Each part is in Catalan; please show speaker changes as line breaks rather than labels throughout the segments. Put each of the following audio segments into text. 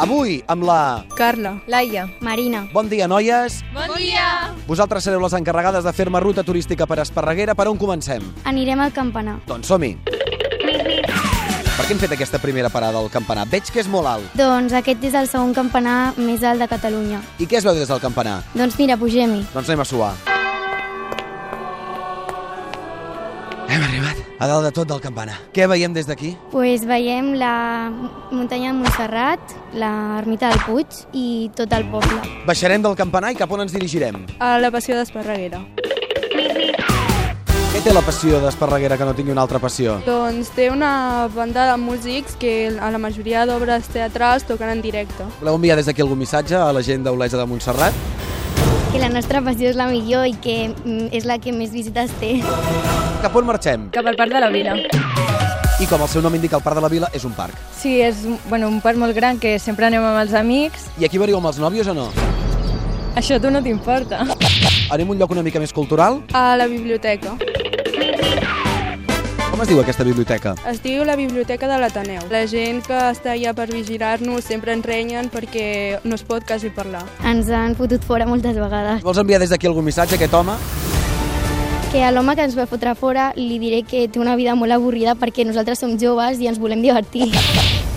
Avui amb la...
Carla.
Laia.
Marina.
Bon dia, noies!
Bon dia!
Vosaltres sereu les encarregades de fer-me ruta turística per Esparreguera. Per on comencem?
Anirem al campanar.
Doncs som-hi! Per què hem fet aquesta primera parada al campanar? Veig que és molt alt.
Doncs aquest és el segon campanar més alt de Catalunya.
I què es veu des del campanar?
Doncs mira, pugem-hi.
Doncs anem a suar. Hem arribat a dalt de tot del campanar. Què veiem des d'aquí?
Pues veiem la muntanya de Montserrat, l'ermita del Puig i tot el poble.
Baixarem del campanar i cap on ens dirigirem?
A la passió d'Esparreguera.
Què té la passió d'Esparreguera que no tingui una altra passió?
Doncs té una banda de músics que a la majoria d'obres teatrals toquen en directe.
Voleu enviar des d'aquí algun missatge a la gent d'Olesa de Montserrat?
Que la nostra passió és la millor i que mm, és la que més visites té.
Cap on marxem?
Cap al Parc de la Vila.
I com el seu nom indica, el Parc de la Vila és un parc.
Sí, és un- bueno, un parc molt gran que sempre anem amb els amics.
I aquí veniu amb els nòvios o no?
Això a tu no t'importa.
Anem a un lloc una mica més cultural?
A la biblioteca.
Com es diu aquesta biblioteca?
Es diu la Biblioteca de l'Ateneu. La gent que està allà per vigilar-nos sempre ens renyen perquè no es pot quasi parlar.
Ens han fotut fora moltes vegades.
Vols enviar des d'aquí algun missatge a aquest home?
Que a l'home que ens va fotre fora li diré que té una vida molt avorrida perquè nosaltres som joves i ens volem divertir.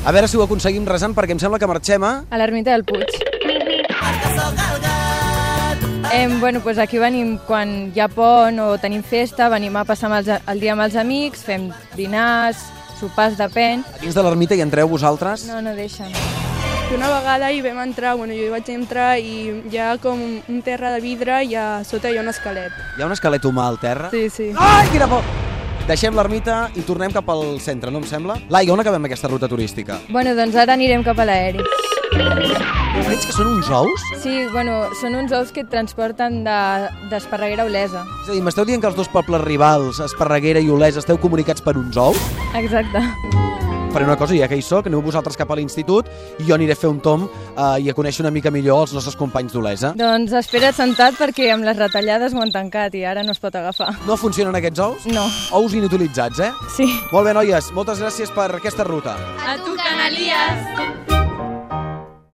A veure si ho aconseguim resant, perquè em sembla que marxem eh? a...
A l'ermita del Puig. Em, bueno, doncs aquí venim quan hi ha pont o tenim festa, venim a passar amb els, el dia amb els amics, fem dinars, sopars, depèn.
a dins de l'ermita i entreu vosaltres?
No, no deixen.
I una vegada hi vam entrar, bueno, jo hi vaig entrar i hi ha com un terra de vidre i a sota hi ha un esquelet.
Hi ha un esquelet humà al terra?
Sí, sí.
Ai, quina por! Deixem l'ermita i tornem cap al centre, no em sembla? Laia, on acabem aquesta ruta turística?
Bueno, doncs ara anirem cap a l'aeri.
Veig que són uns ous?
Sí, bueno, són uns ous que et transporten de- d'Esparreguera de, a Olesa.
És a dir, m'esteu dient que els dos pobles rivals, Esparreguera i Olesa, esteu comunicats per uns ous?
Exacte.
Faré una cosa, ja que hi soc, aneu vosaltres cap a l'institut i jo aniré a fer un tom eh, i a conèixer una mica millor els nostres companys d'Olesa.
Doncs espera't sentat perquè amb les retallades ho han tancat i ara no es pot agafar.
No funcionen aquests ous?
No.
Ous inutilitzats, eh?
Sí.
Molt bé, noies, moltes gràcies per aquesta ruta.
A tu, Canalies!